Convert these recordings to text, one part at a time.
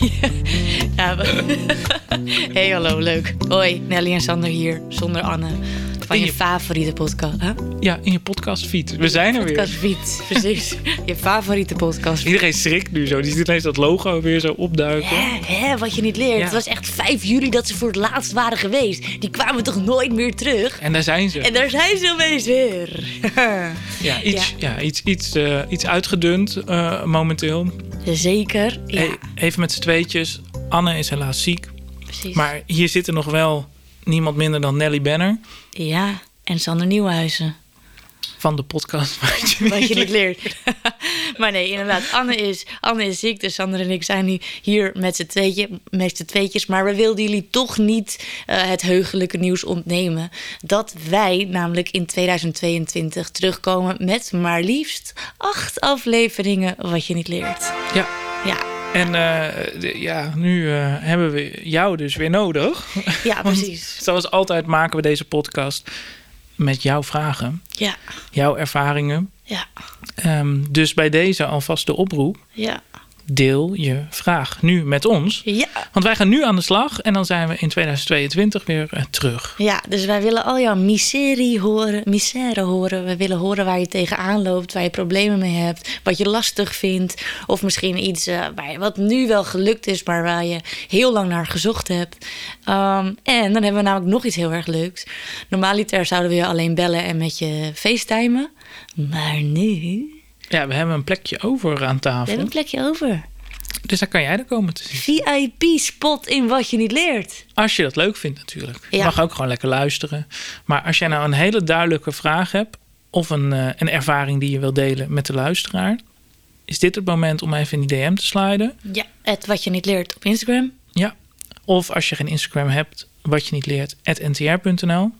Ja. hey, hallo, leuk. Hoi, Nelly en Sander hier, zonder Anne. Van In je, je- Oh, favoriete podcast. Huh? Ja, in je podcastfeed. We zijn er weer. Podcastfiets, precies. je favoriete podcast. Iedereen schrikt nu zo. Die ziet ineens dat logo weer zo opduiken. Hè, hè, wat je niet leert. Ja. Het was echt 5 juli dat ze voor het laatst waren geweest. Die kwamen toch nooit meer terug? En daar zijn ze. En daar zijn ze opeens weer. Ja, iets, ja. iets, iets, eh, iets uitgedund eh, momenteel. Zeker, ja, E- Even met z'n tweetjes. Anne is helaas ziek. precies. Maar hier zit er nog wel niemand minder dan Nelly Banner. Ja, en Sander Nieuwhuizen. Van de podcast. Weet je Wat je niet. niet leert. maar nee, inderdaad. Anne is, Anne is ziek, dus Sander en ik zijn nu hier met z'n tweetje, met z'n tweetjes. Maar we wilden jullie toch niet eh, het heugelijke nieuws ontnemen. Dat wij namelijk in 2022 terugkomen met maar liefst acht afleveringen Wat je niet leert. Ja. Ja, En eh, de- ja, nu eh, hebben we jou dus weer nodig. ja Want precies. Zoals altijd maken we deze podcast met jouw vragen, Ja, jouw ervaringen. ja, Ehm, dus bij deze alvast de oproep. ja, Deel je vraag nu met ons. ja. Want wij gaan nu aan de slag en dan zijn we in 2022 weer eh, terug. Ja, dus wij willen al jouw miserie horen, misère horen. We willen horen waar je tegenaan loopt, waar je problemen mee hebt, wat je lastig vindt. Of misschien iets eh, waar je- wat nu wel gelukt is, maar waar je heel lang naar gezocht hebt. Ehm, en dan hebben we namelijk nog iets heel erg leuks. Normaliter zouden we je alleen bellen en met je facetimen. Maar nu, Ja, we hebben een plekje over aan we hebben tafel. een plekje over. Dus daar kan jij er komen te zien. VIP-spot in wat je niet leert. Als je dat leuk vindt natuurlijk. Je Ja. mag ook gewoon lekker luisteren. Maar als jij nou een hele duidelijke vraag hebt... of een, eh, een ervaring die je wilt delen met de luisteraar... is dit het moment om even in die DM te sliden. Ja, het wat je niet leert op Instagram. Ja. Of als je geen Instagram hebt, wat je niet leert, at ntr.nl.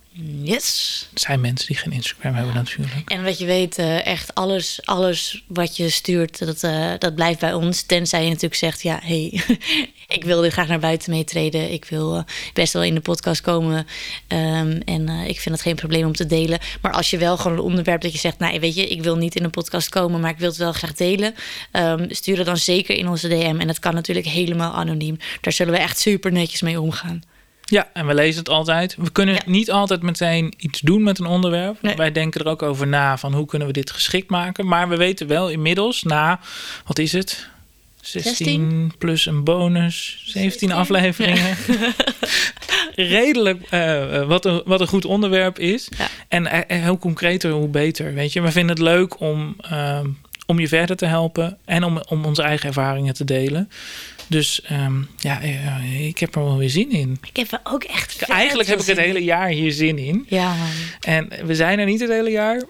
Yes. Het zijn mensen die geen Instagram hebben natuurlijk. En wat je weet, eh, echt alles, alles wat je stuurt, dat, eh, dat blijft bij ons. Tenzij je natuurlijk zegt, ja, hé, hey, ik wil er graag naar buiten mee treden. Ik wil eh, best wel in de podcast komen. Ehm, en eh, ik vind het geen probleem om te delen. Maar als je wel gewoon een onderwerp dat je zegt, nou, weet je, ik wil niet in een podcast komen, maar ik wil het wel graag delen. ehm, stuur het dan zeker in onze DM. En dat kan natuurlijk helemaal anoniem. Daar zullen we echt super netjes mee omgaan. Ja, en we lezen het altijd. We kunnen Ja. niet altijd meteen iets doen met een onderwerp. Nee. Wij denken er ook over na van hoe kunnen we dit geschikt maken. Maar we weten wel inmiddels na, wat is het? 16, 16. plus een bonus, 17 afleveringen. Redelijk eh, eh, wat, een, wat een goed onderwerp is. Ja. En eh, eh, hoe concreter, hoe beter. Weet je, we vinden het leuk om, ehm, om je verder te helpen en om, om onze eigen ervaringen te delen. Dus ehm, ja, eh, ik heb er wel weer zin in. Ik heb er ook echt. vet Eigenlijk heb ik veel het zin hele in. jaar hier zin in. Ja, man. En we zijn er niet het hele jaar.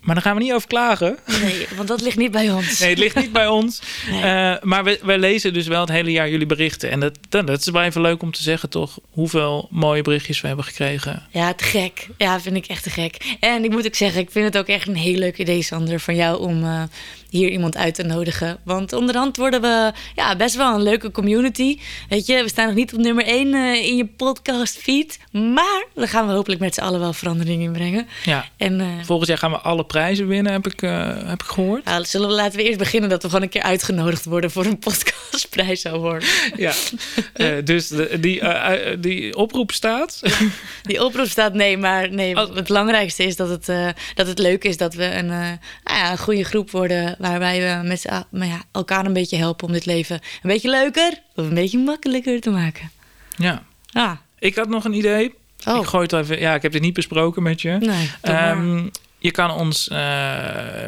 Maar daar gaan we niet over klagen. Nee, want dat ligt niet bij ons. Nee, het ligt niet bij ons. Nee. Eh, maar we, we lezen dus wel het hele jaar jullie berichten. En dat, dat, dat is wel even leuk om te zeggen, toch? Hoeveel mooie berichtjes we hebben gekregen. Ja, te gek. Ja, vind ik echt te gek. En ik moet ook zeggen, ik vind het ook echt een heel leuk idee, Sander, van jou om eh, hier iemand uit te nodigen. Want onderhand worden we ja, best wel een leuke community. Weet je, we staan nog niet op nummer 1 in je podcast feed. Maar daar gaan we hopelijk met z'n allen wel verandering in brengen. Ja. En eh, Volgend jaar gaan we alle prijzen winnen, heb ik, eh, heb ik gehoord. nou, zullen we laten we eerst beginnen dat we gewoon een keer uitgenodigd worden voor een podcastprijs zou worden. Ja. Eh, dus de- die, eh, eh, die oproep staat. Die oproep staat nee, maar nee, Oh. het belangrijkste is dat het, eh, dat het leuk is dat we een, eh, nou ja, een goede groep worden. Waarbij we met z'n a- maar ja, elkaar een beetje helpen om dit leven een beetje leuker of een beetje makkelijker te maken. Ah, ja. Ja, Ik had nog een idee. Oh. Ik gooi het even. Ja, ik heb dit niet besproken met je. nee. doe nou, maar. Ehm, je kan ons eh,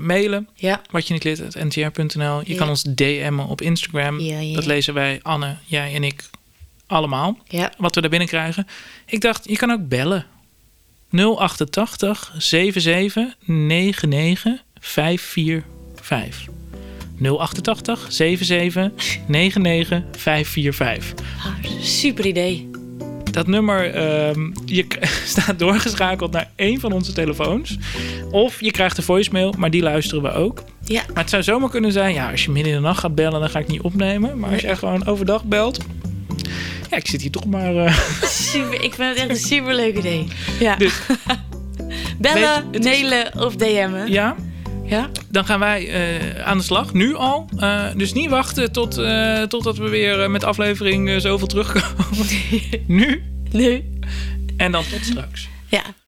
mailen, ja, wat je niet lid, at ntr.nl. Je Ja. kan ons DM'en op Instagram. Ja, ja. Dat lezen wij, Anne, jij en ik allemaal. ja. Wat we daar binnen krijgen. Ik dacht, je kan ook bellen. 088 77 99 545. 088 77 99 545. Ah, super idee. Dat nummer ehm, je k- staat doorgeschakeld naar één van onze telefoons. Of je krijgt een voicemail, maar die luisteren we ook. Ja, Maar het zou zomaar kunnen zijn, ja, als je midden in de nacht gaat bellen, dan ga ik niet opnemen. Maar als jij gewoon overdag belt, ja, ik zit hier toch maar... eh, super, ik vind het echt een super leuk idee. Ja. Dus- Bellen, Weet je, het is- mailen of DM'en. ja, Ja? dan gaan wij eh, aan de slag, nu al. Eh, dus niet wachten tot, eh, totdat we weer eh, met aflevering eh, zoveel terugkomen. nu Nu. en dan tot straks. Ja.